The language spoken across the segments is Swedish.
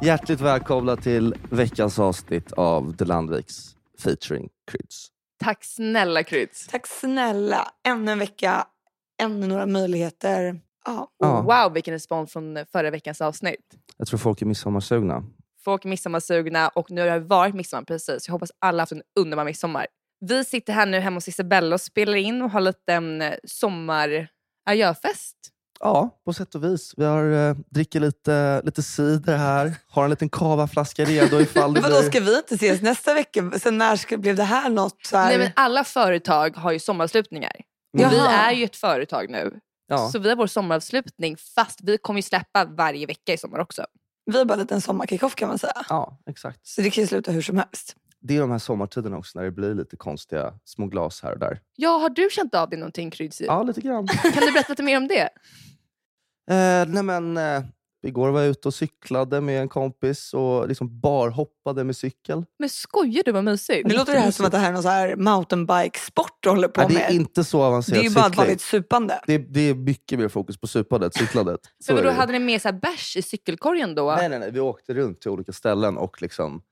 Hjärtligt välkomna till veckans avsnitt av The Landviks featuring Kryds. Tack snälla Kryds. Tack snälla. Ännu en vecka, ännu några möjligheter. Ja. Ja. Wow, vilken respons från förra veckans avsnitt. Jag tror folk är midsommarsugna. Folk är midsommarsugna och nu har det varit midsommar precis. Jag hoppas alla har haft en underbar midsommar. Vi sitter här nu hemma hos Isabella och spelar in och har lite en eh, sommar fest Ja, på sätt och vis. Vi har, eh, dricker lite, lite cider här, har en liten cavaflaska redo ifall det Vadå, blir... ska vi inte ses nästa vecka? Sen när ska, blev det här något? Så här? Nej, men alla företag har ju sommaravslutningar. Mm. Och vi Jaha. är ju ett företag nu. Ja. Så vi har vår sommaravslutning fast vi kommer ju släppa varje vecka i sommar också. Vi är bara en liten sommarkickoff kan man säga. ja, exakt. Så det kan ju sluta hur som helst. Det är de här sommartiderna också när det blir lite konstiga små glas här och där. Ja, har du känt av det någonting Kryds? Ja, lite grann. Kan du berätta lite mer om det? Eh, nej men, eh, igår var jag ute och cyklade med en kompis och liksom barhoppade med cykel. Men skojar du vad mysigt? Nu låter det här som att det här är någon så här mountainbike-sport du håller på Nej, det är med. inte så det är avancerat ju bara ett cykling. vanligt supande. Det, det är mycket mer fokus på supandet, cyklandet. Så Men är då det ju. hade ni med så här bärs i cykelkorgen då? nej, nej, nej. Vi åkte runt till olika ställen och liksom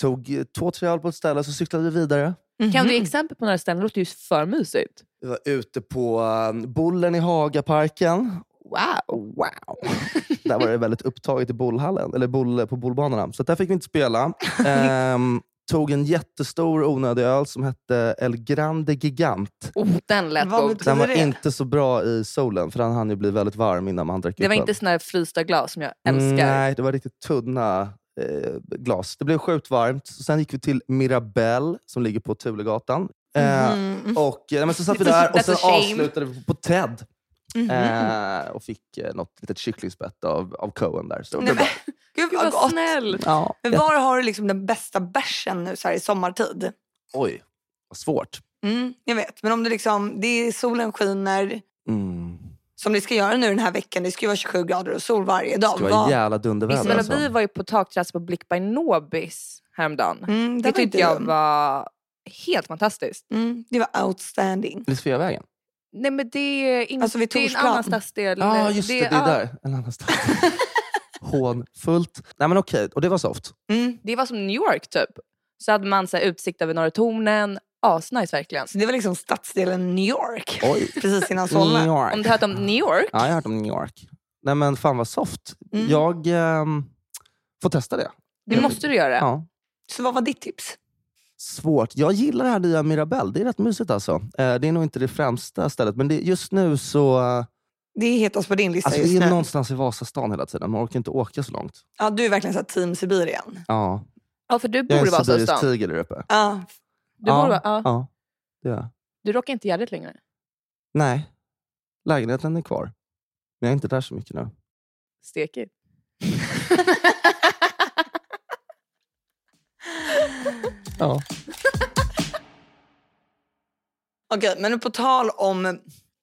tog eh, två, tre öl på ett ställe så cyklade vi vidare. Kan du ge Mm-hmm. Mhm. exempel på några ställen? Det låter ju för mysigt. Vi var ute på eh, Bullen i Hagaparken. Wow! Wow! där var det väldigt upptaget i bollhallen, eller boll, på bollbanorna. Så där fick vi inte spela. Ehm, tog en jättestor onödig öl som hette El Grande Gigant. Oh, den lät Vad god. betyder- Den var det? inte så bra i solen, för han hann ju bli väldigt varm innan han drack upp Det var den. inte såna här frysta glas som jag Mm, älskar. Nej, det var riktigt tunna eh, glas. Det blev sjukt varmt. Sen gick vi till Mirabelle som ligger på Tulegatan. Eh, Mhm. och, eh, nej, men så satt vi That's a- där och that's sen a shame. avslutade vi på TED. Mhm. Eh, och fick eh, något litet kycklingspett av, av Cohen där. Så det Nej, var- men, Gud gud vad vad gott. snäll! ja, Men jätte- var har du liksom den bästa bärsen nu så här i sommartid? Oj, vad svårt. Mm, jag vet, men om det liksom, det är solen skiner, Mm. som det ska göra nu den här veckan. Det ska ju vara 27 grader och sol varje dag. Det var Vad- jävla dunderväder. Isabella, Alltså. vi var ju på takterrassen på Blick by Nobis häromdagen. Mm, Det var tyckte inte jag dum. var helt fantastiskt. Mm, det var outstanding. Vid Sveavägen? Nej men det är, in, Alltså vid det är en Torsplan. annan stadsdel. Ja, ah, just det. Det är ja, där. En annan stad. Hånfullt. Nej men okej, och det var soft. Mm. det var som New York typ. Så hade man så här, utsikt över Norra tornen. Asnice verkligen. Så det var liksom stadsdelen New York. Oj. Precis innan Solna. Alltså, New York. Om du hört om New York? Ja, jag har hört om New York. Nej men fan vad soft. Mm. Jag ehm, får testa det. Det måste du göra. Ja. Så vad var ditt tips? Svårt. Jag gillar det här nya Mirabelle. Det är rätt mysigt alltså. Eh, det är nog inte det främsta stället, men det, just nu så... eh, Det är hetast på din lista alltså, just vi är nu. någonstans i Vasastan hela tiden. Man orkar inte åka så långt. Ja, du är verkligen så här team Sibirien. Ja. Ja, för du Jag bor i är en sibirisk Vasastan. tiger där uppe. Ja, Du, Ja. bor, i Va- ja. Ja, det är jag. du råkar inte i Gärdet längre. Nej, lägenheten är kvar. Men jag är inte där så mycket nu. Stekigt. Ja. okej. Men på tal om,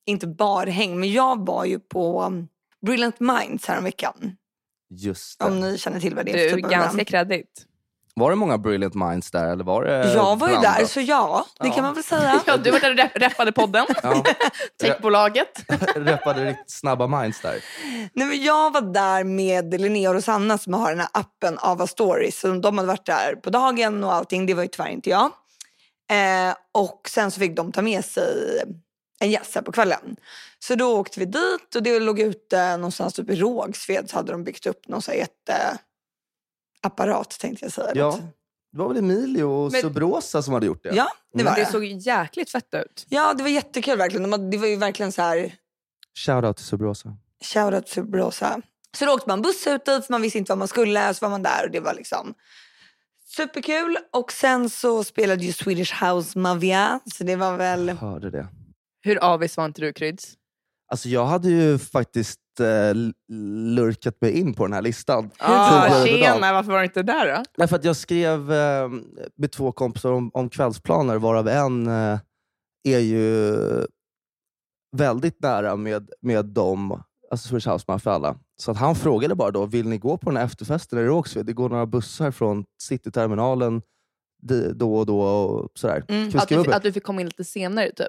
inte barhäng, men jag var ju på um, Brilliant Minds häromveckan. Just Om det. ni känner till vad det är för Du, typ av ganska event. kreddigt. Var det många brilliant minds där? Eller var det Jag var ju blandat? där, så ja. Det Ja. kan man väl säga. Ja, du var där och rep- reppade podden, Ja. techbolaget. Rappade riktigt snabba minds där. Nej, men jag var där med Linnea och Rosanna som har den här appen Ava Stories. Så de hade varit där på dagen och allting. Det var ju tyvärr inte jag. Eh, och sen så fick de ta med sig en gäst här på kvällen. Så då åkte vi dit och det låg ute någonstans typ i Rågsved så hade de byggt upp någon så här jätteapparat tänkte jag säga. Ja. Det var väl Emilio och Men- Subrosa som hade gjort det? Ja, det var Det det. såg jäkligt fett ut. Ja, det var jättekul verkligen. De hade, det var ju verkligen så här Shoutout till Subrosa. Shoutout till Blåsa. Så då åkte man buss ut dit, för man visste inte vad man skulle. Så var man där och det var liksom superkul. Och sen så spelade ju Swedish House Mafia. Så det var väl... Jag hörde det. Hur avis var inte du Kryds? Alltså jag hade ju faktiskt eh, l- lurkat mig in på den här listan. Ah, Tidigare idag. tjena, varför var du inte där då? Därför att jag skrev eh, med två kompisar om, om kvällsplaner, varav en eh, är ju väldigt nära med, med dem, alltså Swedish House Mafia alla. Så att han frågade bara då, vill ni gå på den här efterfesten i Rågsved? Det går några bussar från Cityterminalen di- då och då och sådär. Mm, Kan vi Att du, skriva upp Mm, fi- det? att du fick komma in lite senare typ.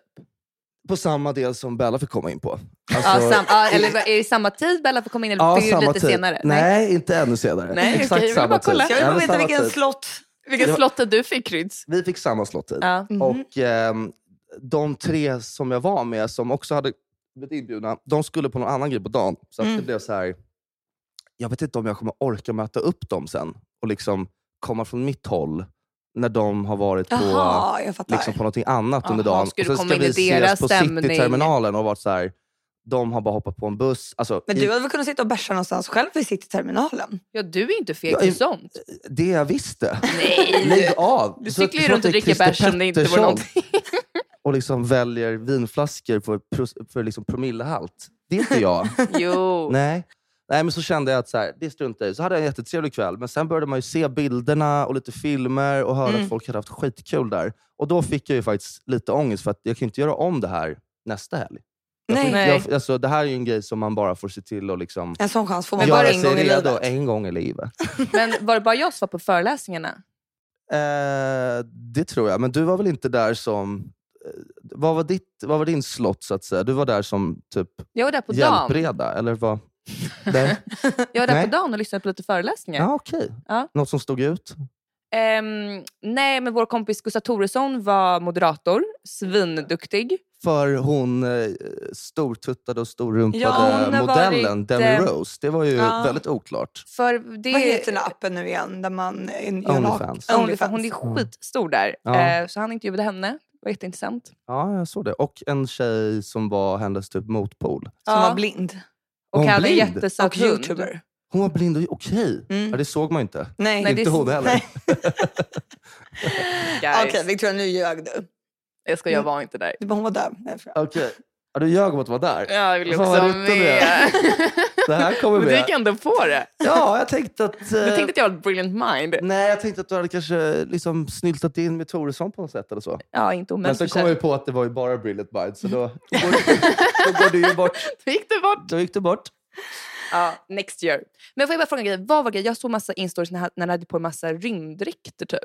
på samma del som Bella fick komma in på. Ja, Alltså- sam, ja, eller är det samma tid Bella får komma in? Eller Ja, det är ju samma lite tid. senare. Nej, inte ännu senare. Nej, okej, Exakt jag ville samma bara tid. kolla. Jag vill Ja, bara samma veta vilken tid. slott. Det Vilket var- slott du fick Ryds. Vi fick samma slottid. Ja. Mhm. Och ehm, de tre som jag var med, som också hade blivit inbjudna, de skulle på någon annan grej på dagen. Så att det Mm. blev så här. jag vet inte om jag kommer orka möta upp dem sen och liksom komma från mitt håll när de har varit på, Jaha, jag fattar. liksom, på någonting annat under Jaha, dagen. skulle och komma sen ska in vi i deras ses på stämning. Cityterminalen och varit så här. de har bara hoppat på en buss. Alltså, Men i- du hade väl kunnat sitta och bärsa någonstans själv vid Cityterminalen? Ja, du är inte feg Jag till är- sånt. Det jag visste. Nej! Lägg av! Du Så att- cyklar ju så att runt och det är dricker Christer bärs som det inte vore Pettersson någonting. Och liksom väljer vinflaskor för, pros- för liksom promillehalt. Det är inte jag. Jo. Nej. Nej, men så kände jag att så här, det struntar jag i. Så hade jag en jättetrevlig kväll. Men sen började man ju se bilderna och lite filmer och höra Mm. att folk hade haft skitkul där. Och då fick jag ju faktiskt lite ångest för att jag kan ju inte göra om det här nästa helg. Jag får Nej. inte- Nej. Jag, alltså, det här är ju en grej som man bara får se till och liksom En sån chans får man men bara göra en gång sig i redo livet. en gång i livet. Men var det bara jag som var på föreläsningarna? Eh, det tror jag. Men du var väl inte där som... eh, Vad var, ditt, vad var din slott så att säga? Du var där som typ Jag var där på dagen, hjälpreda? Eller vad? Nej. jag var där Nej. på dagen och lyssnade på lite föreläsningar. Ja, okej. Ja. Något som stod ut? Ehm, nej, men vår kompis Gustav Toresson var moderator. Svinduktig. För hon eh, stortuttade och storrumpade Ja, hon har modellen varit, Demi eh, Rose. Det var ju Ja. väldigt oklart. För det, Vad heter den här appen nu igen? Där man, en, Onlyfans. Onlyfans. Hon är skitstor där. Mm. Ja. Eh, så han intervjuade henne. Det var jätteintressant. Ja, jag såg det. Och en tjej som var hennes typ motpol. som Ja. var blind. Och Hon hade en blind? jättesöt och hund. youtuber. Hon var blind och okej. Mm. Ja, det såg man ju inte. Nej. Nej, det- inte hon heller. Nej. Guys. Okej, Victoria nu ljög du. Jag ska jag var inte där. Du bara, Hon var där. Nej, för- Okej. Ja, du ljög om att vara där. Ja, jag vill Fan, också vad ha rutten du är. med. Det här kommer Men du med. gick ändå på det. Ja, jag tänkte att... eh, Du tänkte att jag var ett brilliant mind. Nej, jag tänkte att du hade kanske liksom snyltat in med Toresson på något sätt. eller så. Men, Ja, inte omöjligt. sen kom jag ju på att det var ju bara Brilliant Minds, så då, Mm. då, går, då går du ju bort. Då gick det bort. Då gick du bort. Ja, next year. Men får jag bara fråga en grej? Vad var grejen? Jag såg massa instories när, när ni hade på en massa rymddräkter typ.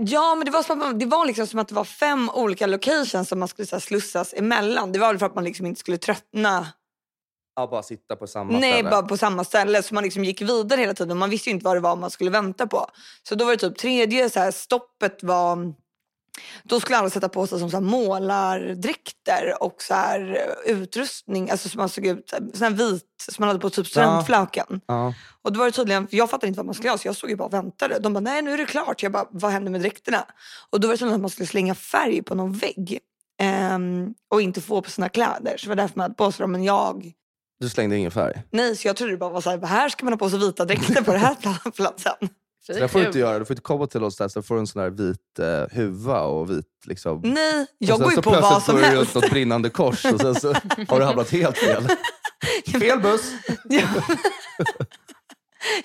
Ja, men det var, som att, man- det var liksom som att det var fem olika locations som man skulle så här, slussas emellan. Det var väl för att man liksom inte skulle tröttna. Ja, bara sitta på samma Nej, ställe. bara på samma ställe. Så man liksom gick vidare hela tiden. Man visste ju inte vad det var man skulle vänta på. Så då var det typ tredje så här, stoppet var... Då skulle alla sätta på sig som så här, målardräkter och så här, utrustning. Alltså som man såg ut, sån här vit som man hade på typ studentflöken. Ja. Och då var det tydligen, för jag fattade inte vad man skulle göra så jag stod ju bara och väntade. De bara, nej nu är det klart. Jag bara, vad händer med dräkterna? Och då var det tydligen att man skulle slänga färg på någon vägg. ehm, och inte få på sina kläder. Så det var därför man hade på sig dem. Men jag, Du slängde ingen färg. nej så jag trodde det bara var så här, här ska man ha på sig vita dräkter på den här pla- platsen. Fy, Så det får du kul. inte göra. Du får inte komma till oss där så får du en sån här vit eh, huva och vit... Liksom. Nej, och Mm. jag sen går ju så på vad plötsligt som går du helst. runt något brinnande kors och sen så har du hamnat helt fel. Fel buss!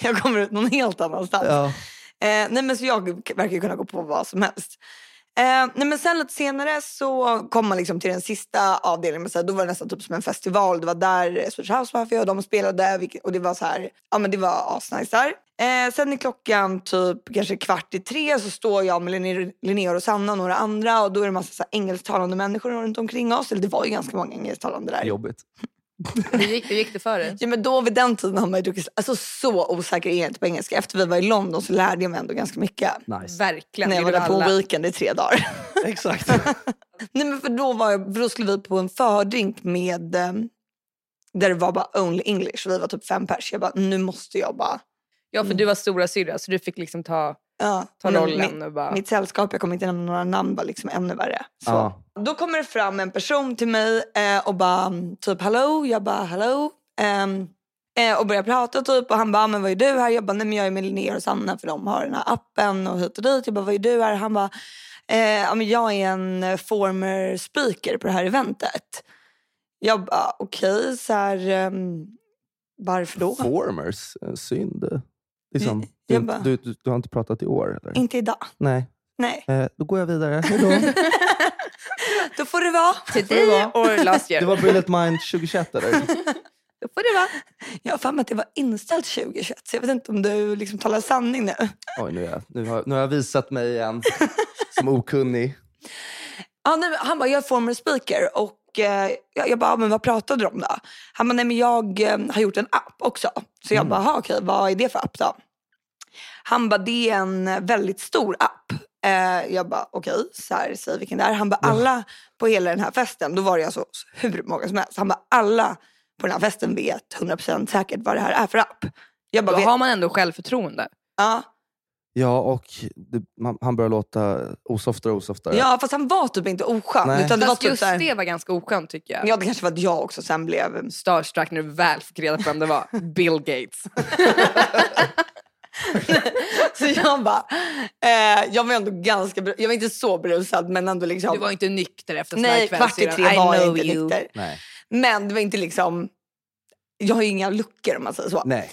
jag kommer ut någon helt annanstans. Ja. Eh, nej men så jag verkar ju kunna gå på vad som helst. Eh, nej men sen lite senare så kom man liksom till den sista avdelningen. Men så här, då var det nästan typ som en festival. Det var där Swedish House Mafia och de spelade. vilket- Och det var så här, ja men det var asnice där. Eh, sen är klockan typ kanske kvart i tre så står jag med Linne- Linnea och Sanna och några andra. Och då är det en massa så här, engelsktalande människor runt omkring oss. Eller det var ju ganska många engelsktalande där. Jobbigt. Hur gick, hur gick det för dig? Ja, men då vid den tiden har man ju druckit, alltså så osäker är jag inte på engelska. Efter vi var i London så lärde jag mig ändå ganska mycket. Nice. Verkligen. När jag det var där gjorde på alla. weekend i tre dagar. Exakt. Nej, men för då, var jag, för då skulle vi på en fördrink med, eh, där det var bara only English. Vi var typ fem pers. Jag bara, nu måste jag bara. Ja, för du var stora syrra så du fick liksom ta, Ja, ta men rollen. Mitt, och bara... mitt sällskap, jag kommer inte nämna några namn, var liksom ännu värre. Så. Ja. Då kommer det fram en person till mig eh, och bara mm, typ hallå, jag bara hallå. Ehm, eh, och börjar prata typ och han bara men vad är du här? Jag bara nej men jag är med Linnea och Sanna för de har den här appen och hit och dit. Jag bara vad är du här? Han bara eh, ja men jag är en eh, former speaker på det här eventet. Jag bara okej så här ehm, varför då? Formers, eh, synd. eh, Liksom. Jag Du, bara- du, du, du har inte pratat i år? Eller? Inte idag. Nej. Nej, Eh, då går jag vidare. Hejdå. då får det vara. Today or last year. Det var Brilliant Mind 2021 eller? Då får det vara. Jag har för mig att det var inställt 2021 så jag vet inte om du liksom talar sanning nu. Oj, nu, är jag, nu, har, nu har jag visat mig igen som okunnig. Ja, nej, men han bara, jag är former speaker och Och eh, jag jag bara, "Ah, men vad pratade de om då? Han bara, nej men jag eh, har gjort en app också. Så jag Mm. bara, "Aha, okej, vad är det för app då? Han bara, det är en väldigt stor app. Eh, jag bara, okej, så här säg vilken det är. Han bara, alla på hela den här festen, då var det alltså hur många som helst. Han bara, alla på den här festen vet 100% säkert vad det här är för app. Jag bara, Då vet, har man ändå självförtroende. ja. Ja, och det, man, han börjar låta osoftare och osoftare. ja, fast han var typ inte oskön. Nej. Utan det var Fast typ just så här, det var ganska oskönt tycker jag. ja, det kanske var att jag också sen blev Starstruck när du väl fick reda på vem det var. Bill Gates. Så jag bara, eh, jag var ändå ganska, bru- jag var inte så berusad men ändå liksom. Du var inte nykter efter sån här nej, kväll. kvart i syrran. tre I var jag know inte you. nykter. Nej. Men det var inte liksom, jag har ju inga luckor om man säger så. Nej.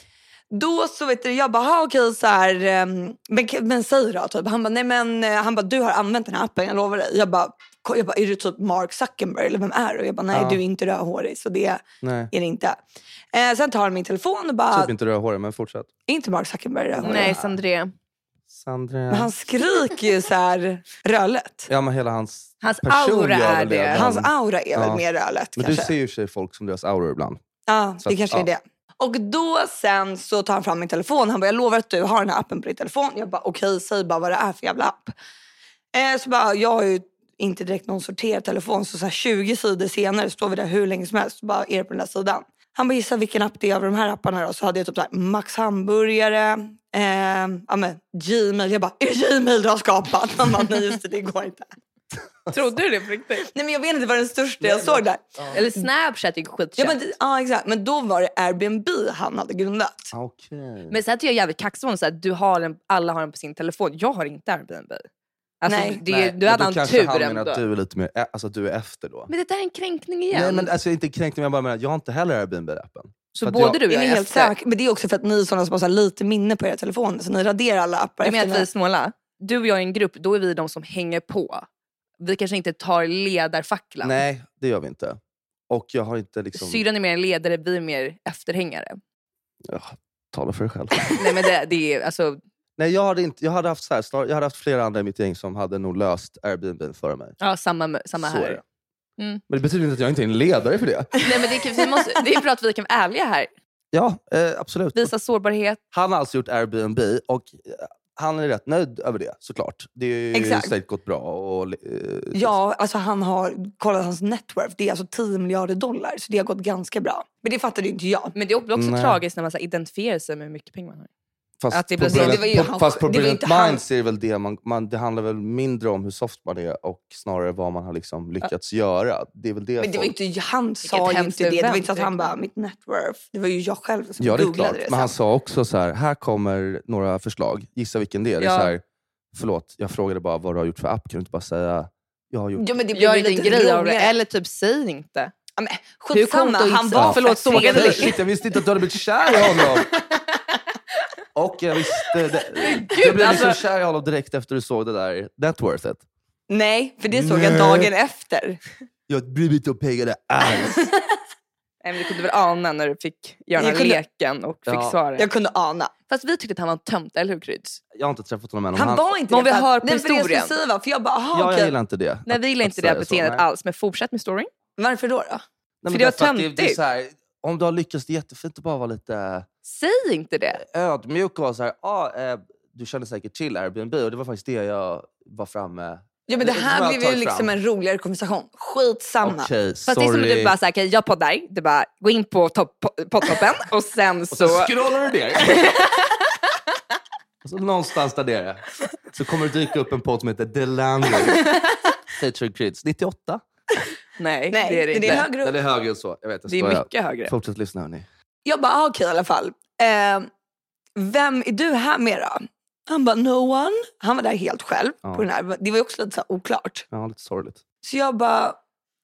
Då så vet du, jag bara, "Ha, okej så här, ehm, men, men säg då typ. Han bara, nej men, eh, han bara, du har använt den här appen, jag lovar dig. Jag bara, "Ko- jag bara, är du typ Mark Zuckerberg eller vem är du? Jag bara, nej Ja. du är inte rödhårig så det Nej. är det inte. Eh, sen tar han min telefon och bara, Typ inte rödhårig, men fortsätt. är inte Mark Zuckerberg rödhårig? Nej, Sandré. Sandra... Men han skriker ju så här rödlätt. Ja, men hela hans Hans person aura gör är väl det. redan. Hans aura är Ja. väl mer rödlätt Men du kanske. ser ju i och för sig folk som deras auror ibland. Ja, Så det att, kanske är ja. det. Och då sen så tar han fram min telefon. Han bara, jag lovar att du har den här appen på din telefon. Jag bara, okej, säg bara vad det är för jävla app. Eh, så bara, jag har ju inte direkt någon sorterad telefon. Så, så här 20 sidor senare står vi där hur länge som helst. Så bara, är det på den där sidan? Han bara, gissa vilken app det är av de här apparna då? Så hade jag typ så här, Max Hamburgare, eh, ja, men, Gmail. Jag bara, är det Gmail du har skapat? Han bara, nej just det, det går inte. Trodde du det på riktigt? Nej men jag vet inte vad den största jag såg där. Eller Snapchat är skitkänt. Ja, men, det- ja exakt, men då var det Airbnb han hade grundat. Ah, Okej. Men sen tycker jag jävligt kaxigt om så här, du har en, alla har den på sin telefon. Jag har inte Airbnb. Alltså, Nej. det, Nej, du men hade då en kanske tur han ändå. menar att du är lite mer, ä- alltså att du är efter då. Men det där är en kränkning igen. Nej men alltså jag är inte kränkt men jag bara menar att jag har inte heller Airbnb-appen. för så att både jag- du och Är jag ni är helt efter. säkra? Men det är också för att ni är sådana som har så här lite minne på era telefoner. Så ni raderar alla appar. Du menar efter att vi är den snåla? Du och jag är en grupp, då är vi de som hänger på. Vi kanske inte tar ledarfacklan. Nej, det gör vi inte. Och jag har inte liksom... Syrran är mer en ledare, vi är mer efterhängare. Ja, tala för dig själv. Nej men det, det är alltså, Nej, jag hade, inte, jag, hade haft så här, snar, jag hade haft flera andra i mitt gäng som hade nog löst Airbnb före mig. ja, samma, samma Så är här. det. Mm. Men det betyder inte att jag inte är en ledare för det. Nej, men det, är, vi måste, det är bra att vi kan vara ärliga här. Ja, eh, absolut. Visa sårbarhet. Han har alltså gjort Airbnb och eh, han är rätt nöjd över det såklart. Det är ju Exakt. säkert gått bra. Och, eh, Ja, alltså han har kollat hans networth. Det är alltså 10 miljarder dollar. Så det har gått ganska bra. Men det fattade ju inte jag. Men det är också Nej. tragiskt när man så här, identifierar sig med hur mycket pengar man har. Fast, Att det på blir så- Brilliant, det var ju på, han- fast på det var ju Brilliant inte han- Minds är det väl det man, man, det handlar väl mindre om hur soft man är och snarare vad man har liksom lyckats göra. Det är väl det Men det var folk- ju inte, han sa ju hemskt inte det. Det var event, inte att han verkligen. bara, mitt networth. Det var ju jag själv som Ja, det är googlade klart. det. Men han sen. sa också så här, här kommer några förslag. Gissa vilken det är. Det är Ja. så här, förlåt, jag frågade bara vad du har gjort för app. Kan du inte bara säga, jag har gjort... Ja, men det blev Gör ju inte en lite grej av det. roligare. Eller typ, säg inte. Ja, men Hur coolt Skitsamma, att han gissa. var Förlåt, fett sågade Nej, dig. trevlig. shit, jag visste inte att du hade blivit kär i honom! Och jag visste... Det, jag blev liksom alltså. kär i honom direkt efter du såg det där networthet. Nej, för det såg jag Nej. dagen efter. Jag bryr mig inte om pengarna alls. Nej, men du kunde väl ana när du fick göra den Jag här kunde- leken och fick Ja. svaret. Jag kunde ana. Fast vi tyckte att han var en tönt, eller hur Kryds? Jag har inte träffat honom än. om Han var inte Om det. vi för- hör på Nej, för det jag skulle historien. säga var- För jag bara, aha, Ja, jag okej. gillar inte det. Nej, Att- vi gillar att inte det här säga så, beteendet nej. alls, men fortsätt med storyn. Varför då? då? Nej, För men det var därför att Det är töntigt. så här, om du har lyckats, det är jättefint att bara vara lite Säg inte det. ödmjuk och vara så här, ah, eh, du känner säkert till Airbnb och det var faktiskt det jag var framme... Ja, men det Som här jag blev tar ju liksom fram. en roligare konversation. Skitsamma. Okej, Fast sorry. det är som att du bara såhär, okej jag poddar, du bara gå in på topp- po- poddtoppen och sen Och så så... scrollar du ner. och så Alltså, någonstans där nere så kommer det dyka upp en podd som heter The Landlord. Featuring Creeds. 98? Nej, Nej, det är det men det inte. är högre upp. Eller högre än så. Jag vet, jag Det är skojar. mycket högre. Fortsätt lyssna hörni. Jag bara, ah, okej i alla fall. Eh, vem är du här med då? Han bara, no one. Han var där helt själv. Ja. På den här. Det var ju också lite så här oklart. Ja, lite sorgligt. Så jag bara,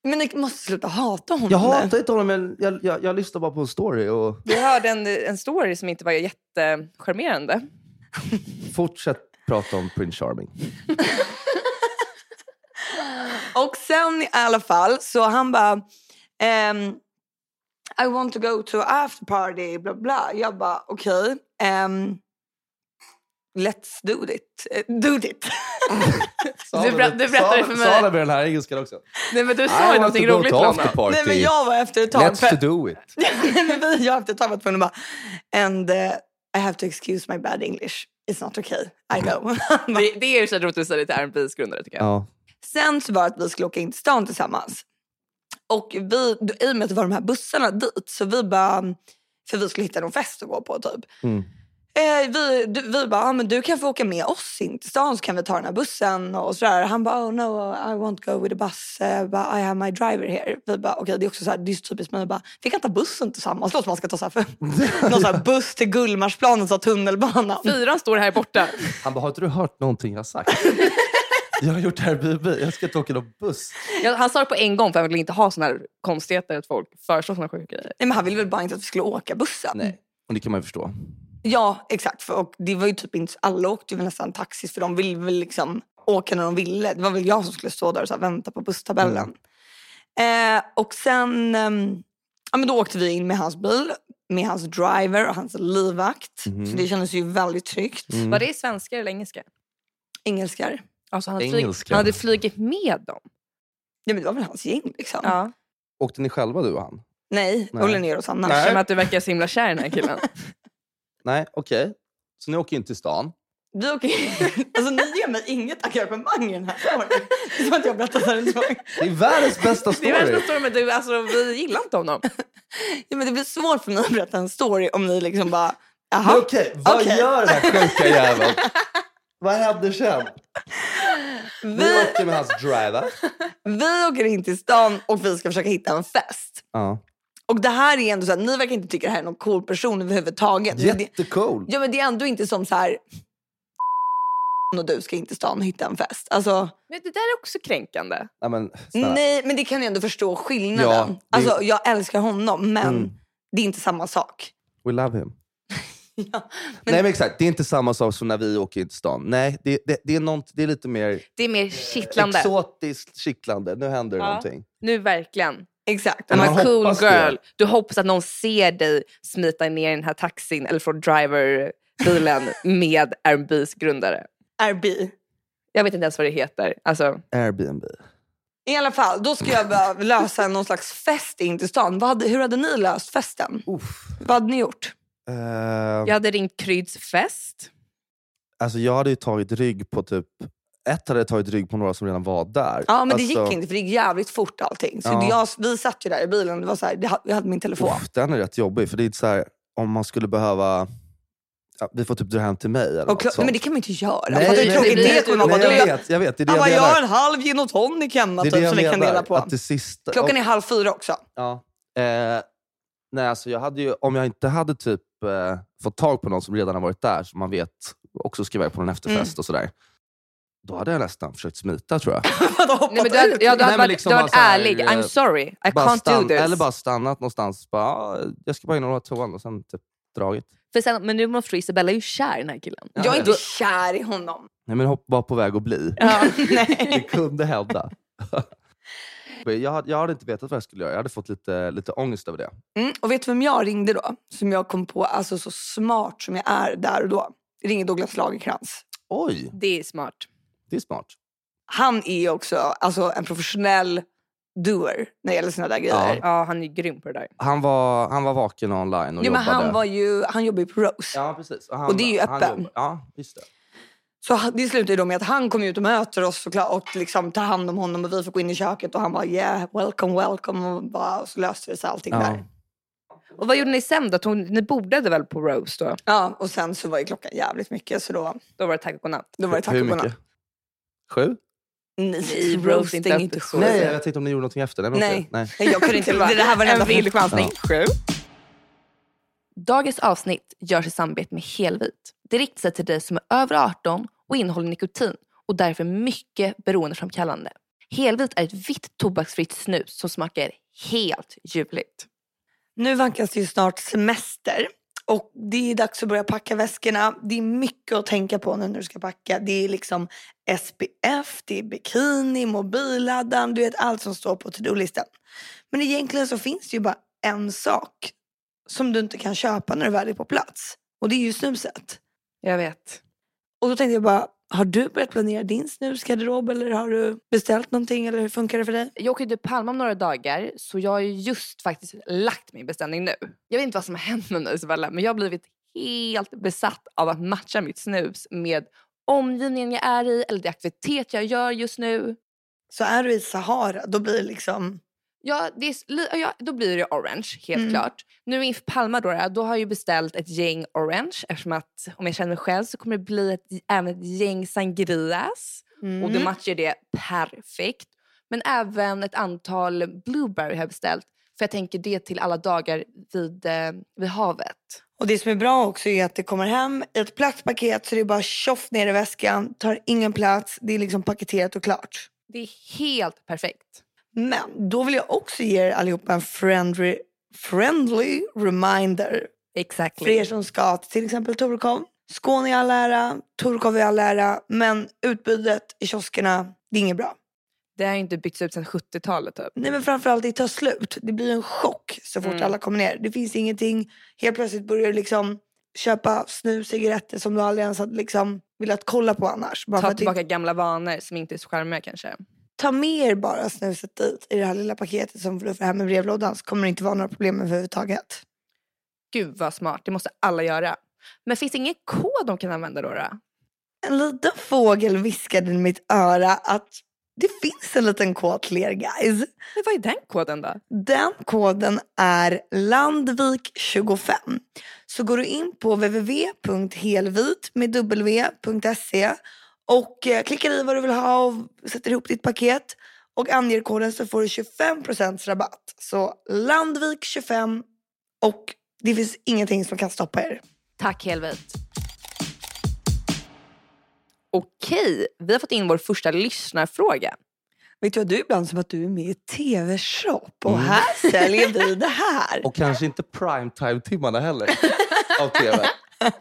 men ni måste sluta hata honom. Jag nu. hatar inte honom, men jag, jag, jag lyssnar bara på en story. Och Vi hörde en, en story som inte var jättecharmerande. fortsätt prata om Prince Charming. Och sen i alla fall, så han bara, ehm, I want to go to after party, bla bla. Jag bara, okej. ehm, Let's do it. Eh, Do it. Du ber- du berättade för mig. Salen med den här engelskan också. Nej men du sa ju någonting roligt Lonna. Nej, men jag var efter ett tag. Let's För, to do it. Nej, men vi, jag efter ett tag var tvungen att bara, and eh, I have to excuse my bad English. It's not okay. I know. Det, det är ju så roligt att säga det till R&B's grundare tycker jag. Ja. Sen så var det att vi skulle åka in till stan tillsammans. Och vi, i och med att det var de här bussarna dit, så vi bara, för vi skulle hitta någon fest att gå på typ. Mm. Eh, vi, du, vi bara, ah, men du kan få åka med oss in till stan så kan vi ta den här bussen och sådär. Han bara, oh no, I won't go with the bus. Eh, but I have my driver here. Vi bara, okej det är också så här, det är så typiskt. Men vi bara, vi kan ta bussen tillsammans. Låter som man ska ta så här, för, någon så här buss till Gullmarsplan och ta tunnelbanan. Fyran står här borta. Han bara, har inte du hört någonting jag har sagt? jag har gjort Airbnb, jag ska inte åka någon buss. Jag, han sa det på en gång för han ville inte ha såna här konstigheter att folk föreslår såna sjuka grejer. Nej, men han ville väl bara inte att vi skulle åka bussen. Nej. Och det kan man ju förstå. Ja, exakt. För, och det var ju typ inte, alla åkte ju nästan taxi för de ville väl liksom åka när de ville. Det var väl jag som skulle stå där och så här, vänta på busstabellen. Mm. Eh, och sen ehm, ja, men då åkte vi in med hans bil, med hans driver och hans livvakt. Mhm. Så det kändes ju väldigt tryggt. Mm. Var det svenskar eller engelska? Engelskar. Alltså han, hade flyg, Engelska. han hade flugit med dem. Ja, men det var väl hans gäng liksom. Ja. Åkte ni själva du och han? Nej, Nej. håller ner och Sanna. Nej. Jag känner att du verkar så himla kär i den här killen. Nej, okej. Så ni åker in till stan? Vi åker Alltså ni ger mig inget engagemang i den här storyn. Det är som att jag berättar så här en gång. Det är världens bästa Det story! är värsta stormen, du, alltså, vi gillar inte honom. Ja, men det blir svårt för mig att berätta en story om ni liksom bara, Men jaha. Okej, vad Okej. gör den här sjuka jäveln? vad händer sen? Vi, Vi åker med hans driver. vi åker in till stan och vi ska försöka hitta en fest. Ja. Och det här är ändå så att ni verkar inte tycka det här är någon cool person överhuvudtaget. Men det, Jättecool! ja men det är ändå inte som så här och du ska in till stan och hitta en fest. Alltså, Men det där är också kränkande. Nej, men, snälla. nej, men det kan jag ändå förstå Ja, skillnaden. det- Alltså, jag älskar honom, men Mm. det är inte samma sak. We love him. Ja, Nej men exakt, det är inte samma sak som när vi åker in till stan. Nej, det, det, det, är, nånt, det är lite mer Det är mer kittlande. exotiskt kittlande. Nu händer det Ja. någonting. Typ Nu verkligen. Exakt. Men I'm man a cool hoppas det. girl. Du hoppas att någon ser dig smita ner i den här taxin eller från driverbilen med R&B's grundare. RB. Jag vet inte ens vad det heter. Alltså, Airbnb. I alla fall, då ska jag bara lösa någon slags fest in till stan. Vad hade, hur hade ni löst festen? Uff. Vad hade ni gjort? Eh, jag hade ringt Kryds fest. alltså, jag hade ju tagit rygg på typ... Ett hade jag tagit rygg på några som redan var där. Ja, men det Alltså, gick inte för det gick jävligt fort allting. Så Ja. jag, vi satt ju där i bilen och det var så här, det, ha- jag hade min telefon. Uff, den är rätt jobbig. För det är så här, om man skulle behöva... Ja, vi får typ dra hem till mig eller och något klar, nej, sånt. men det kan man ju inte göra. Alltså, Nej, Fattar du nej, hur tråkigt det- det kommer man nej, vara? bara, jag Du- vet, jag vet. Det är det Han bara, jag jag har menar. en halv gin och tonic hemma Det är det typ, jag som vi kan menar, dela på. Att det sista, Klockan är halv fyra också. Ja. Eh, nej, alltså jag hade ju, om jag inte hade typ eh, fått tag på någon som redan har varit där, som man vet också ska iväg på någon efterfest och sådär. Då hade jag nästan försökt smita tror jag. Hade hoppat Nej, men du hade, ut. ja, du Nej, hade men varit, liksom du bara hade varit så här, ärlig. eh, I'm sorry, I Bara can't stann- do this. Eller bara stannat någonstans. Bara, ah, jag ska bara in och låta toan och sen typ dragit. Eh, För sen, men nu måste Isabella är ju kär i den här killen. Jag är inte kär i honom. Nej, men hopp var på väg att bli. Ja. Det nej. kunde hända. jag, hade- jag hade inte vetat vad jag skulle göra. Jag hade fått lite, lite ångest över det. Mm, och vet du vem jag ringde då? Som jag kom på, alltså så smart som jag är där och då. Jag ringer Douglas Lagercrantz. Oj, Det är smart. det är smart. Han är ju också alltså, en professionell doer när det gäller såna där grejer. Ja, han är grym på det där. Han var, han var vaken online och Jo, men jobbade. han, var ju, han jobbar ju på Rose. Ja, precis. han, Och det är ju han öppen. jobbar- Ja, just det. Så han- det slutade ju då med att han kom ut och möter oss såklart, och liksom tar hand om honom och vi fick gå in i köket och han bara yeah, welcome, welcome och, bara, och så löste det sig allting Ja. där. Och vad gjorde ni sen då? Tog, ni bordade väl på Rose då? Ja, och sen så var ju klockan jävligt mycket så då, Då var det tack och godnatt. då var det tack Hur och mycket? Sju? Nej, Rose roast inte är öppet inte så. sjuk. Nej, Nej, jag tänkte om ni gjorde någonting efter. Nej. men Nej. okej. Nej. jag kunde inte. Det här var den en enda vild frågan. chansning. Sju. Dagens avsnitt görs i samarbete med Helvit. Det riktar sig till dig som är över 18 och innehåller nikotin och därför mycket beroendeframkallande. Helvit är ett vitt tobaksfritt snus som smakar helt ljuvligt. Nu vankas det ju snart semester och det är dags att börja packa väskorna. Det är mycket att tänka på nu när du ska packa. Det är liksom SPF, det är bikini, mobilladdaren, du vet allt som står på to-do-listan. Men egentligen så finns det ju bara en sak som du inte kan köpa när du väl är på plats och det är ju snuset. Jag vet. Och då tänkte jag bara, har du börjat planera din snusgarderob eller har du beställt någonting eller hur funkar det för dig? Jag åker ju till Palma om några dagar så jag har ju just faktiskt lagt min beställning nu. Jag vet inte vad som har hänt med mig Isabella men jag har blivit helt besatt av att matcha mitt snus med omgivningen jag är i eller det aktivitet jag gör just nu. Så är du i Sahara, då blir det liksom... Ja, det är, s- li- ja, då blir det orange, helt Mm. klart. Nu inför Palma då, då har jag ju beställt ett gäng orange eftersom att om jag känner mig själv så kommer det bli ett, även ett gäng sangrias. Och det Mm. matchar det perfekt. Men även ett antal blueberry har jag beställt. För jag tänker det till alla dagar vid, eh, vid havet. Och det som är bra också är att det kommer hem i ett platt paket så det är bara tjoff ner i väskan, tar ingen plats, det är liksom paketerat och klart. Det är helt perfekt. Men då vill jag också ge er allihopa en friendly, friendly reminder Exakt. för er som ska till till exempel Torekov. Skåne i all ära, Torekov i all ära, men utbudet i kioskerna, det är inget bra. Det har ju inte byggts ut sedan 70-talet typ. Nej men framförallt det tar slut. Det blir en chock så fort Mm. alla kommer ner. Det finns ingenting. Helt plötsligt börjar du liksom köpa snus, cigaretter som du aldrig ens hade liksom velat kolla på annars. Bara för Ta att det- tillbaka gamla vanor som inte är så charmiga kanske. ta med er bara snuset dit i det här lilla paketet som du får hem i brevlådan så kommer det inte vara några problem överhuvudtaget. Gud vad smart, det måste alla göra. Men finns det ingen kod de kan använda då? då? En liten fågel viskade i mitt öra att det finns en liten kod till er guys. Men vad är den koden då? Den koden är Landvik25. Så går du in på www.helvit.se E och eh, klickar i vad du vill ha och sätter ihop ditt paket och anger koden så får du 25% rabatt. Så Landvik25 och det finns ingenting som kan stoppa er. Tack Helvit. Okej, vi har fått in vår första lyssnarfråga. Vet du vad du ibland som att du är med i tv-shop och Mm. här säljer vi det här. Och kanske inte primetime-timmarna heller av TV. här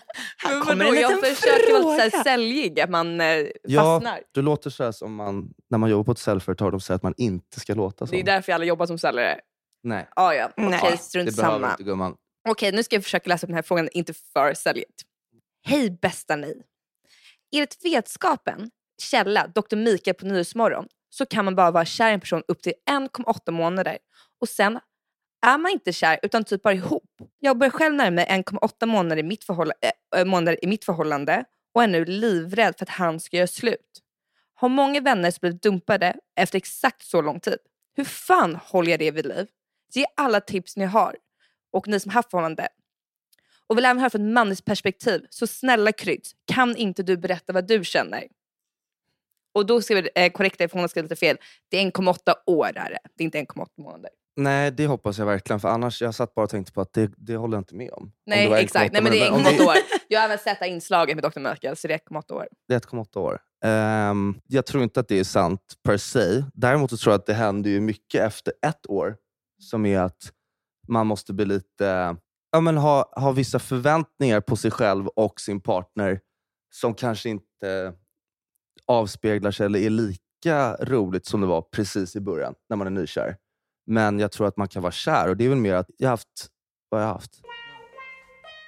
Men kommer vadå, en jag liten försöker vara lite så här fråga. säljig, att man eh, Ja, fastnar. du låter så här som man, när man jobbar på ett säljföretag. De säger att man inte ska låta Det är som. därför alla jobbar som säljare. Nej, Ah, ja, Nej. okej, strunt det behöver samma. inte gumman. Okej, nu ska jag försöka läsa upp den här frågan, inte för säljigt. Hej bästa ni! Enligt vetskapen, källa Dr. Mikael på Nyhetsmorgon, så kan man bara vara kär i en person upp till 1,8 månader. Och sen är man inte kär utan typ bara ihop. Jag börjar själv närma mig 1,8 månader i, mitt förhåll- äh, äh, månader i mitt förhållande och är nu livrädd för att han ska göra slut. Har många vänner som blivit dumpade efter exakt så lång tid. Hur fan håller jag det vid liv? Ge alla tips ni har och ni som haft förhållande. Och vill även höra från ett manligt perspektiv. Så snälla Kryds, kan inte du berätta vad du känner? Och då skriver eh, korrekt ifrån hon skrev lite fel. Det är 1,8 år är det. Det är inte 1,8 månader. Nej, det hoppas jag verkligen. För annars, jag satt bara och tänkte på att det, det håller jag inte med om. Nej om var exakt, nej men det är 1,8 om 1,8 år. Jag har även sett det här inslaget med Dr. Merkel så det är 1,8 år. det är 1,8 år. Ehm, jag tror inte att det är sant per se. Däremot så tror jag att det händer ju mycket efter ett år. Som är att man måste bli lite... Ja, men ha, ha vissa förväntningar på sig själv och sin partner som kanske inte avspeglar sig eller är lika roligt som det var precis i början när man är nykär. Men jag tror att man kan vara kär och det är väl mer att jag har haft... Vad har jag haft?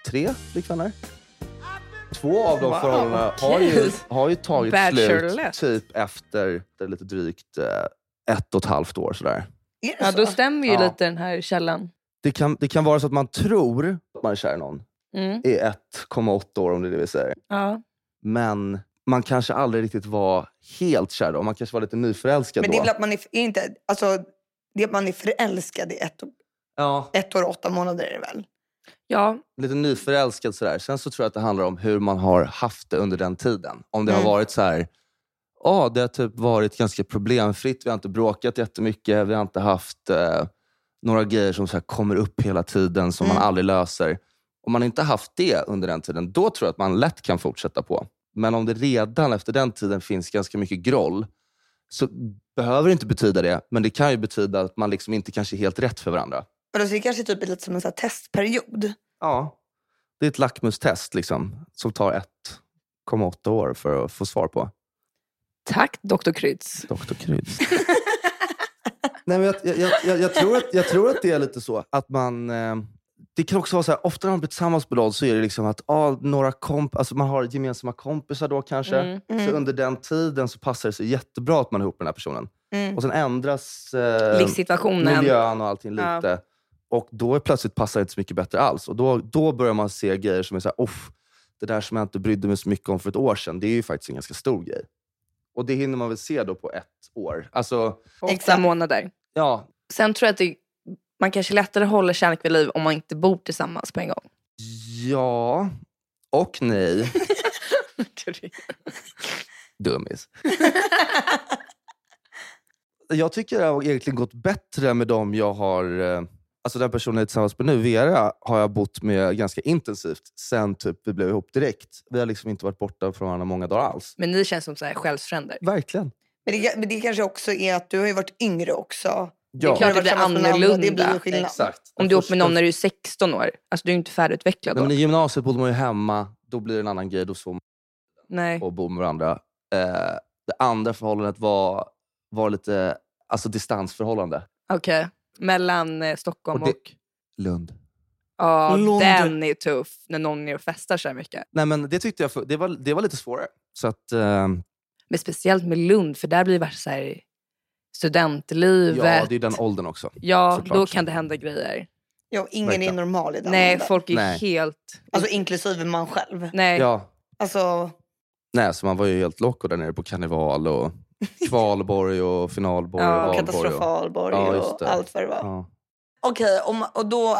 Tre flickvänner? Två av de Wow, förhållandena har okej. ju, har ju tagit slut Bachelorette. typ efter eh, lite drygt eh, ett och ett halvt år. Sådär. Är det Ja då så? stämmer ju Ja. lite den här källan. Det, kan, det kan vara så att man tror att man är kär i någon Mm. i 1,8 år om det är det vi säger. Ja. Men man kanske aldrig riktigt var helt kär då. Man kanske var lite nyförälskad Men det är då. väl att man är, är inte, alltså, det är att man är förälskad i ett, och- Ja, ett år och åtta månader är det väl? ja, lite nyförälskad sådär. Sen så tror jag att det handlar om hur man har haft det under den tiden. Om det Mm. har varit så här, ja det har typ varit ganska problemfritt. Vi har inte bråkat jättemycket. Vi har inte haft eh, några grejer som så här kommer upp hela tiden som man Mm. aldrig löser. Om man inte haft det under den tiden, då tror jag att man lätt kan fortsätta på. Men om det redan efter den tiden finns ganska mycket groll, så behöver det inte betyda det. Men det kan ju betyda att man liksom inte kanske är helt rätt för varandra. Och då ser det kanske typ ut lite som en så här testperiod. Ja. Det är ett lackmustest liksom, som tar 1,8 år för att få svar på. tack Dr. Kryds. Dr. Kryds. Nej, men jag, jag, jag, jag, tror att, jag tror att det är lite så. Att man, eh, det kan också vara så här, ofta när man blir tillsammans med någon så är det liksom att ah, några komp alltså man har gemensamma kompisar då kanske. Mm. Mm. Så under den tiden så passar det sig jättebra att man är ihop med den här personen. Mm. Och sen ändras Liksom eh, Livssituationen. miljön och allting Ja. lite. Och då är plötsligt passar det inte så mycket bättre alls. Och då, då börjar man se grejer som är så här, "Uff, det där som jag inte brydde mig så mycket om för ett år sedan, det är ju faktiskt en ganska stor grej. Och det hinner man väl se då på ett år. Alltså, Åtta Exakt. månader. ja, Sen tror jag att det, man kanske lättare håller kärlek vid liv om man inte bor tillsammans på en gång. ja och nej. Dummis. jag tycker det har egentligen gått bättre med dem jag har... eh, Alltså den personen jag är tillsammans med nu, Vera, har jag bott med ganska intensivt sen typ vi blev ihop direkt. Vi har liksom inte varit borta från varandra många dagar alls. Men ni känns som så här själsfränder. Verkligen. Men, det, men det kanske också är att du har ju varit yngre också. Ja, klart Du har det varit blir tillsammans med någon annan, Det blir annorlunda. ju skillnad. exakt. Om du är ihop med någon när du är 16 år, alltså du är ju inte färdigutvecklad Nej, då. men I Nej. gymnasiet bodde man ju hemma, då blir det en annan grej. Då sov man och bo med varandra. Eh, det andra förhållandet var, var lite alltså distansförhållande. Okej. Mellan eh, Stockholm Och och... det- Lund. Ja, London. den är tuff när någon är och festar så här mycket. Nej, men det tyckte jag för, det var, det var lite svårare. Så att, ehm, Men speciellt med Lund, för där blir det värsta så här studentlivet. ja, det är den åldern också. Ja, såklart. då kan det hända grejer. Ja, ingen Verkligen. är normal i den Nej, åldern. folk är Nej. helt... Alltså inklusive man själv. Nej. Ja. Alltså, Nej, så man var ju helt loco där nere på karneval och kvalborg och finalborg Ja, och valborg. Och, katastrofalborg Ja, just och det. allt vad det var. ja. Okej, om- och då,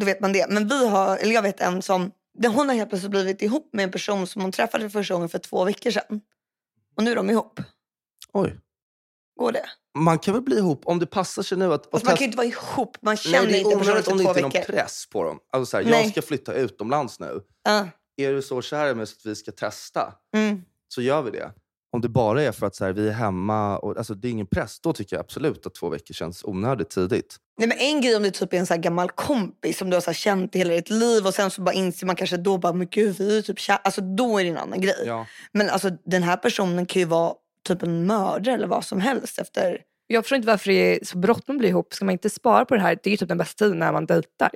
då vet man det. Men vi har, eller jag vet en som, där hon har helt plötsligt blivit ihop med en person som hon träffade första gången för två veckor sedan. Och nu är de ihop. Oj. Går det? Man kan väl bli ihop, om det passar sig nu att... och Alltså, man kan testa- ju inte vara ihop, man känner Nej, det är inte personen onödigt om för det två inte är någon veckor. press på dem. Alltså så här, Nej. jag ska flytta utomlands nu. Ja, Är du så kär i mig så att vi ska testa, mm. så gör vi det. Om det bara är för att så här, vi är hemma, och, alltså, det är ingen press, då tycker jag absolut att två veckor känns onödigt tidigt. Nej, men en grej om det typ är en så här gammal kompis som du har så här känt i hela ditt liv och sen så bara inser man kanske då bara, men gud vi är ju typ kär. Alltså då är det en annan grej. Ja. Men alltså den här personen kan ju vara typ en mördare eller vad som helst efter. Jag förstår inte varför det är så bråttom att bli ihop. Ska man inte spara på det här? Det är ju typ den bästa tiden när man dejtar.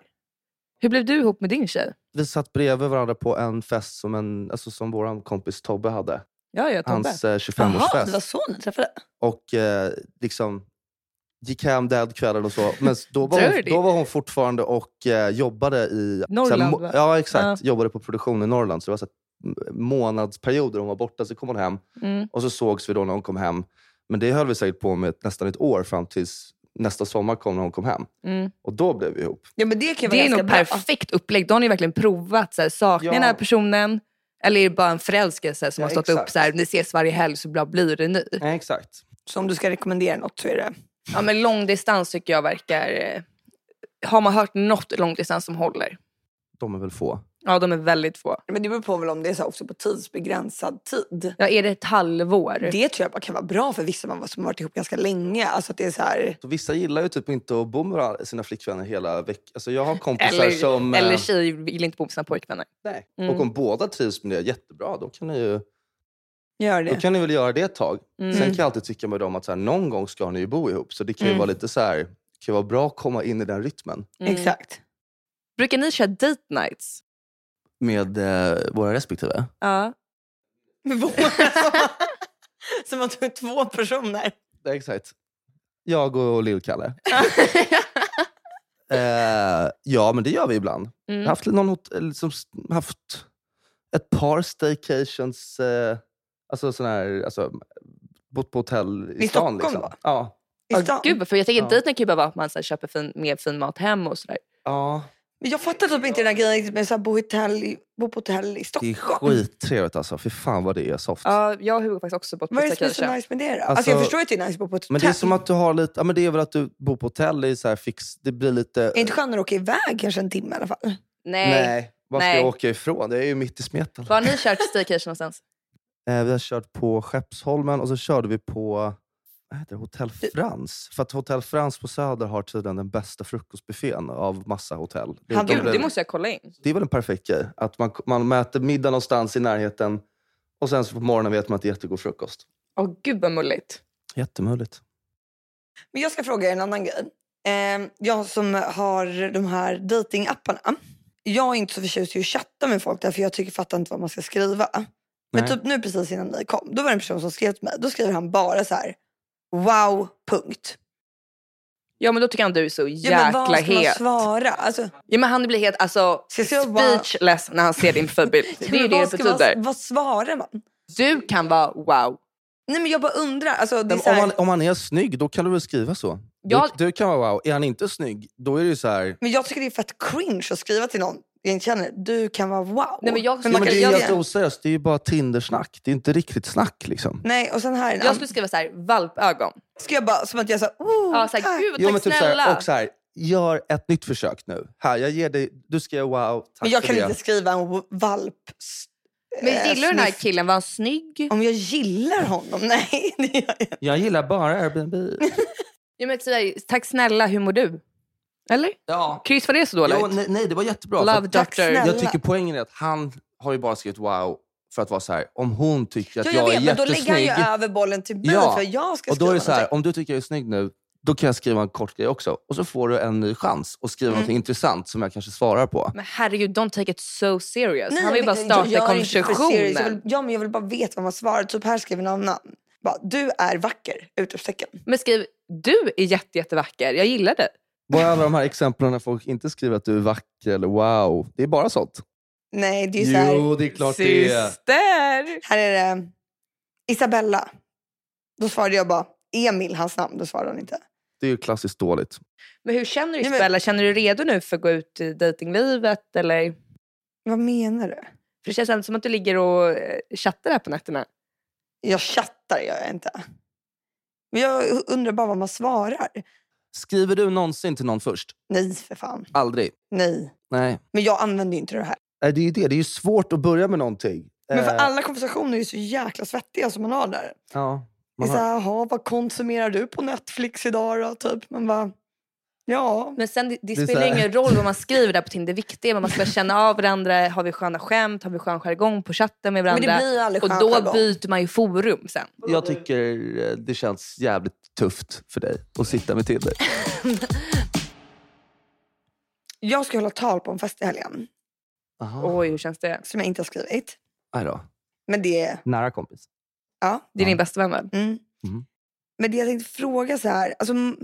Hur blev du ihop med din tjej? Vi satt bredvid varandra på en fest som, en, alltså, som vår kompis Tobbe hade. Ja, jag Tobbe. Hans eh, 25-årsfest. Jaha, det var så ni träffade? och eh, liksom gick hem den kvällen och så. Men då var, Dirty. hon, då var hon fortfarande och eh, jobbade i... Norrland, så här, va? må- ja, exakt. Jobbade på produktion i Norrland. Så det var så här, m- månadsperioder hon var borta. Så kom hon hem Mm. och så sågs vi då när hon kom hem. Men det höll vi säkert på med nästan ett år fram tills nästa sommar kom när hon kom hem. Mm. Och då blev vi ihop. Ja men det kan ju vara Det är ganska nog bra. perfekt upplägg. Då har ni verkligen provat. Så här, saknar Ja. den här personen? Eller är det bara en förälskelse som Ja, har stått upp exakt. så här, ni ses varje helg så bra blir det nu. Nej, exakt. Så om du ska rekommendera något så är det. Ja men långdistans tycker jag verkar... eh, Har man hört något långdistans som håller? De är väl få. Ja de är väldigt få. Men det beror på väl om det är så här också på tidsbegränsad tid. Ja är det ett halvår? Det tror jag bara kan vara bra för vissa man- som har varit ihop ganska länge. Alltså att det är så här, Så vissa gillar ju typ inte att bo med varandra- sina flickvänner hela veckan. Alltså jag har kompisar eller, som... eller eh, tjejer vill inte bo med sina pojkvänner. nej. Mm. Och om båda trivs med det jättebra, då kan ni ju... gör Då det. kan ni väl göra det ett tag. Mm. Sen kan jag alltid tycka med dem att så här, någon gång ska ni ju bo ihop. Så det kan ju Mm. vara lite så här, det kan ju vara bra att komma in i den rytmen Mm. Exakt. Brukar ni köra date nights? med eh, våra respektive. Ja. Men våra- Som att du är två personer. Ja, exakt. Jag och Lill-Kalle. Eh, ja, men det gör vi ibland. Jag har Mm. haft, någon, hot- eller liksom, s- haft ett par staycations, eh, alltså sån här, alltså, bott på hotell i, stan. I Stockholm, liksom. va? ja. I stan. Gud, vad- för jag tänker Ja. dejten kan ju bara vara att man så här, köper fin, mer fin mat hem och sådär. ja, Men jag fattar typ inte den här grejen riktigt med att bo, i hotell i- bo på hotell i det är Stockholm. skittrevligt alltså. Fy fan vad det är soft. Ja, jag och Hugo har faktiskt också bott på Vad är det som är så Staycation. nice med det då? Alltså, Alltså- jag förstår ju att det är nice att bo på ett hotell. Men det är som att du har lite, ja men det är väl att du bor på hotell, det är så här fix, det blir lite... Är inte skönare att åka iväg kanske en timme i alla fall? Nej. nej, var ska Nej. jag åka ifrån? Det är ju mitt i smeten. Var har ni kört Staycation någonstans? Eh, vi har kört på Skeppsholmen och så körde vi på vad heter det, Hotell Frans. För att Hotell Frans på Söder har tydligen den bästa frukostbuffén av massa hotell. Det, Han- de Gud, blev- det måste jag kolla in. det är väl en perfekt grej? Att man, man mäter middag någonstans i närheten och sen så på morgonen vet man att det är jättegod frukost. Åh gud vad mulligt. Jättemöjligt. Men jag ska fråga er en annan grej. eh, jag som har de här datingapparna. Jag är inte så förtjust i att chatta med folk därför jag tycker fattar inte vad man ska skriva. Men Nej. typ nu precis innan ni kom, då var det en person som skrev till mig. Då skriver han bara så här, wow, punkt. Ja men då tycker han du är så Ja, men jäkla vad ska man het. svara? Alltså, Ja men han blir helt alltså, Ska jag säga bara- speechless när han ser din profilbild. ja, Det men är det vad det ska man- betyder. Vad svarar man? Du kan vara wow. Nej men jag bara undrar. Alltså, det är Men så här, om, han, om han är snygg, då kan du väl skriva så? Jag- Du, du kan vara wow. Är han inte snygg, då är det ju så här... Men jag tycker det är fett cringe att skriva till någon jag inte känner. Du kan vara wow. Nej, men jag- Ja, Man men kan- det är jag- helt oseriöst. Det är ju bara Tindersnack. Det är inte riktigt snack. liksom. Nej, och sen här. Jag Jag skulle skriva så här, valpögon. Ska jag bara, som att jag sa, oh, Ja, så här, tack. gud Jo, tack men typ så snälla. här, och så här, gör ett nytt försök nu. Här, jag ger dig, du ska göra wow, tack Men jag för kan det. inte skriva en w- valp. s- men eh, gillar du den här snusk. killen? Var han snygg? Om jag gillar honom? Nej, det gör jag inte. Jag gillar bara Airbnb. Ja, men, typ så här, tack snälla, hur mår du? Eller? ja. Chris, var det så dåligt? Jo, nej, nej, det var jättebra. för Love att- Tack doctor. snälla. jag tycker poängen är att han har ju bara skrivit wow för att vara så här. om hon tycker att Ja, jag, jag vet, är men då lägger han jättesnygg. ju över bollen till mig Ja, för jag ska Och då är det så skriva här, någonting. om du tycker jag är snygg nu, då kan jag skriva en kort grej också. Och så får du en ny chans att Mm. skriva något intressant som jag kanske svarar på. Men herregud, don't take it so serious. Nej, Alltså, han vill jag bara vet- starta jag är inte för serious. Jag vill, konversationen. ja, men jag vill bara veta vad man svarar. Typ här skriver någon annan. Bara, du är vacker! Utropstecken. Men skriv, du är jätte, jättevacker. Jag gillar dig. Vad är alla de här exemplen när folk inte skriver att du är vacker eller wow? Det är bara sånt. Nej, det är ju så här. det är klart det är. Syster! Här är det eh, Isabella. Då svarade jag bara Emil, hans namn. Då svarade hon inte. Det är ju klassiskt dåligt. Men hur känner du Nej, men- Isabella? Känner du dig redo nu för att gå ut i dejtinglivet? Eller? Vad menar du? För det känns ändå som att du ligger och eh, chattar här på nätterna. Jag chattar gör jag inte. Men jag undrar bara vad man svarar. Skriver du någonsin till någon först? Nej, för fan. Aldrig. Nej. Nej. Men jag använder ju inte det här. Nej, Det är ju det. Det är ju svårt att börja med någonting. Men för Eh, alla konversationer är ju så jäkla svettiga som man har där. ja, Det är man så har, här, "Jaha, vad konsumerar du på Netflix idag då? Typ. Man bara, ja. Men sen, det, det Det är spelar så här- ingen roll vad man skriver där på Tinder. Det viktiga är vad man ska känna av varandra. Har vi sköna skämt? Har vi skön jargong på chatten med Men det varandra? blir aldrig Och skönt då någon gång. byter man ju forum sen. jag tycker eh, det känns jävligt tufft för dig att sitta med Tinder. Jag ska hålla tal på en fest i helgen Aha. Oj, hur känns det? som jag inte har skrivit. Aj då. Men det, Nära kompis. ja. Det är din Ja. bästa vän väl? Mm. Mhm. Men det jag tänkte fråga så här. Alltså, m-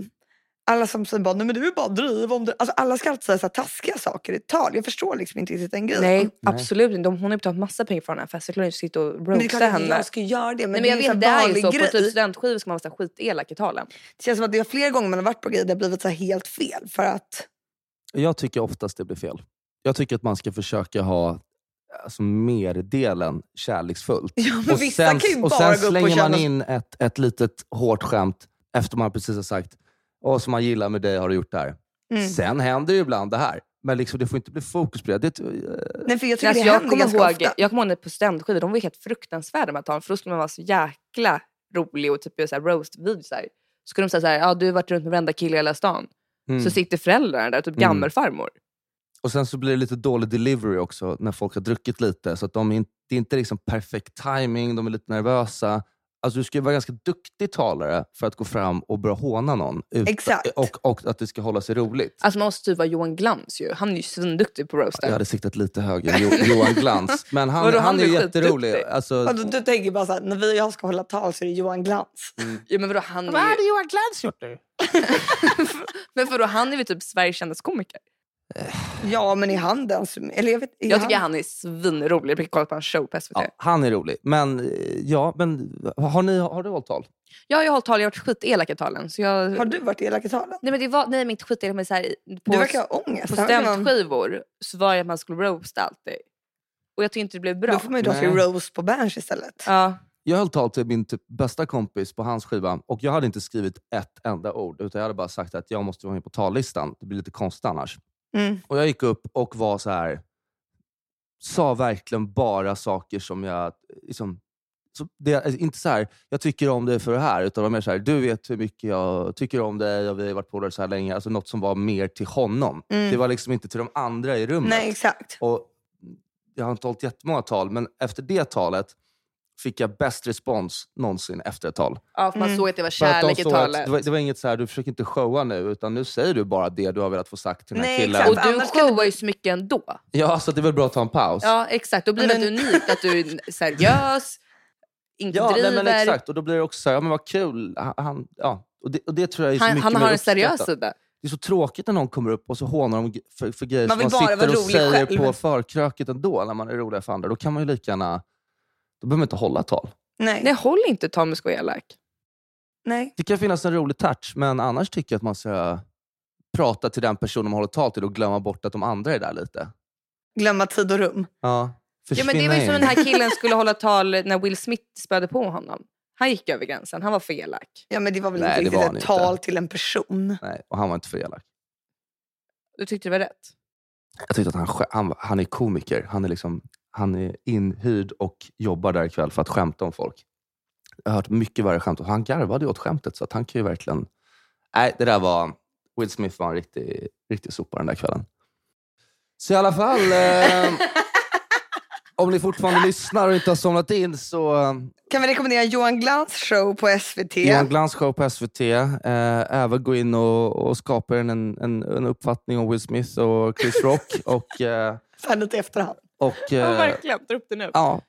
alla som säger bara, nej men du är bara driv om du... Alltså alla ska alltid säga så här taskiga saker i ett tal. Jag förstår liksom inte riktigt den grejen. Nej, absolut inte. De- Hon har ju betalat massa pengar för den här festen. Så klart inte sitta och Men det är roasta klart att henne. jag ska göra det. Nej, Men, men det jag är vet, en det så här är ju vanlig så. På typ grej. studentskivor ska man vara så här skitelak i talen. Det känns som att det är flera gånger man har varit på grejer där det har blivit så här helt fel. För att Jag tycker oftast det blir fel. Jag tycker att man ska försöka ha alltså, merdelen kärleksfullt. ja, men vissa kan ju och bara sen gå upp slänger och köra man något- in ett, ett litet hårt skämt efter man precis har sagt Åh, som man gillar med dig har du gjort det här. Mm. Sen händer ju ibland det här. Men liksom, det får inte bli fokus på det. det Nej, för jag Alltså, tycker det jag, händer kommer ganska ihåg, ofta. jag kommer ihåg när på studentskivor, de var ju helt fruktansvärda med att tala, för då skulle man vara så jäkla rolig och typ göra så här roast-videos. Så, här. så skulle de säga så här, ja du har varit runt med varenda kille i hela stan. mm. Så sitter föräldrarna där, typ Mm. gammelfarmor. Och Sen så blir det lite dålig delivery också när folk har druckit lite. Så att de är inte, Det är inte liksom perfekt timing, de är lite nervösa. Alltså, du ska ju vara ganska duktig talare för att gå fram och börja håna någon. Ut, Exakt. Och, och att det ska hålla sig roligt. Alltså man måste typ vara Johan Glans ju. Han är ju svinduktig på Jag roasten. hade siktat lite högre. Jo, Johan Glans. Men han, Vadå, han, han är blir jätterolig. skitduktig. Alltså, Vadå, du tänker bara så här, när vi och jag ska hålla tal så är det Johan Glans. Ja, men vadå, han är ju... Johan Glans gjort nu? Men vadå, han är väl typ Sveriges kändaste komiker. Ja, men i handen. Eller jag vet, är Jag tycker han är svinrolig. Jag brukar kolla på hans show på SVT. Ja, Ja. han är rolig. Men, eh, ja, men har, ni, har du hållit tal? Jag har ju hållit tal, jag har varit skitelak i talen. Så jag... Har du varit elak i talen? Nej men det var, nej men inte skitelak men så här, på Du verkar ha ångest. på Det här verkar vara- studentskivor så var det att man skulle roasta alltid. Och jag tyckte inte det blev bra. Då får man ju dra till Nej. Rose på Berns istället. Ja. Jag höll tal till min typ bästa kompis på hans skiva och jag hade inte skrivit ett enda ord. Utan jag hade bara sagt att jag måste vara med på tallistan. Det blir lite konstigt annars. Mm. Och jag gick upp och var så här. Sa verkligen bara saker som jag... Liksom, så det, alltså, inte så här, jag tycker om dig för det här. Utan det var mer så här, du vet hur mycket jag tycker om dig och vi har varit polare så här länge. Alltså något som var mer till honom. Mm. Det var liksom inte till de andra i rummet. Nej, exakt. Och jag har inte hållit jättemånga tal, men efter det talet fick jag bäst respons någonsin efter ett tal. Ja, för man Mm. såg att det var För att de kärlek i såg att- talet. det, var, det var inget så här, du försöker inte showa nu, utan nu säger du bara det du har velat få sagt till den här Nej, killen. exakt. Och För du annars kan det showar ju så mycket ändå. Ja, så det är väl bra att ta en paus. Ja, exakt. Då blir det Men- unikt att du är seriös, inte Ja, nej, driver. men exakt. Och då blir det också så här, ja men vad kul. Han- Han, ja. och, det, och det tror jag är så Han, mycket han mer har en seriös uppskattat. sida. Det är så tråkigt när någon kommer upp och så hånar de g- för, för grejer Man som vill man bara vara sitter och rolig säger själv. på förkröket ändå, när man är rolig för andra. Då kan man ju lika gärna... Då behöver man inte hålla tal. Nej. Nej, håll inte Tommy Skojelak. Nej. Det kan finnas en rolig touch, men annars tycker jag att man ska prata till den person man håller tal till och glömma bort att de andra är där lite. Glömma tid och rum. Ja, Ja, försvinna men det var ju in. som den här killen skulle hålla tal när Will Smith spöade på honom. Han gick över gränsen. Han var för elak. Ja, men det var väl Nej, det inte var riktigt han ett inte. tal till en person. Nej, och han var inte för elak. Du tyckte det var rätt? Jag tyckte att han, skä- han, han är komiker. Han är, liksom, han är inhyrd och jobbar där ikväll för att skämta om folk. Jag har hört mycket värre skämt. Och han garvade ju åt skämtet, så att han kan ju verkligen... Nej, det där var... Will Smith var en riktig, riktig sopa den där kvällen. Så i alla fall, eh, om ni fortfarande lyssnar och inte har somnat in så... eh, Kan vi rekommendera Johan Glans show på SVT? Johan Glans show på SVT. Eh, även gå in och, och skapa er en, en, en uppfattning om Will Smith och Chris Rock. och, eh, Så här lite i efterhand. och, Ja, eh, verkligen. Dra upp det nu. Ja.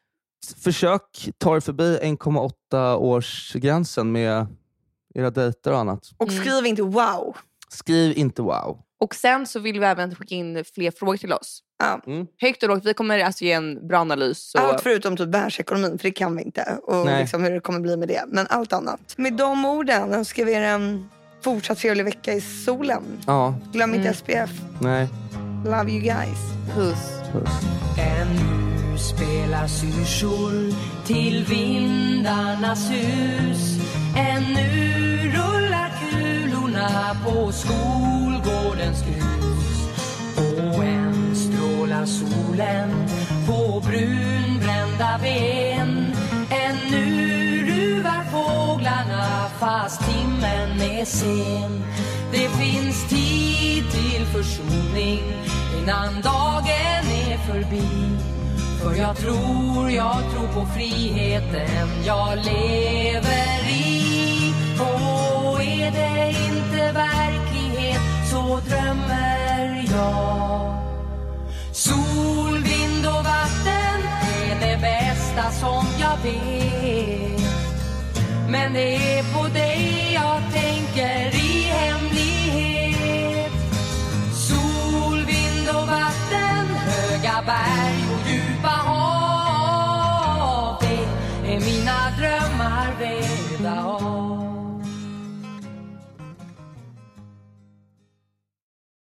S- Försök ta er förbi 1,8 års gränsen med era dejter och annat. Och Mm. skriv inte wow. Skriv inte wow. Och sen så vill vi även skicka in fler frågor till oss. Ja. Mm. Högt och lågt. Vi kommer alltså ge en bra analys. Och... Allt förutom typ världsekonomin, för det kan vi inte. Och Nej. liksom hur det kommer bli med det. Men allt annat. Med de orden önskar vi er en fortsatt trevlig vecka i solen. Ja, Glöm inte Mm. SPF. nej. Love you guys. Puss. Puss. Ännu spelas syrsor till vindarnas hus Ännu rullar kulorna på skolgårdens grus Och än strålar solen på brunbrända ben Ännu ruvar fåglarna fast timmen är sen Det finns tid till försoning innan dagen är förbi För jag tror, jag tror på friheten jag lever i Och är det inte verklighet så drömmer jag Sol, vind och vatten är det bästa som jag vet men det är på dig jag tänker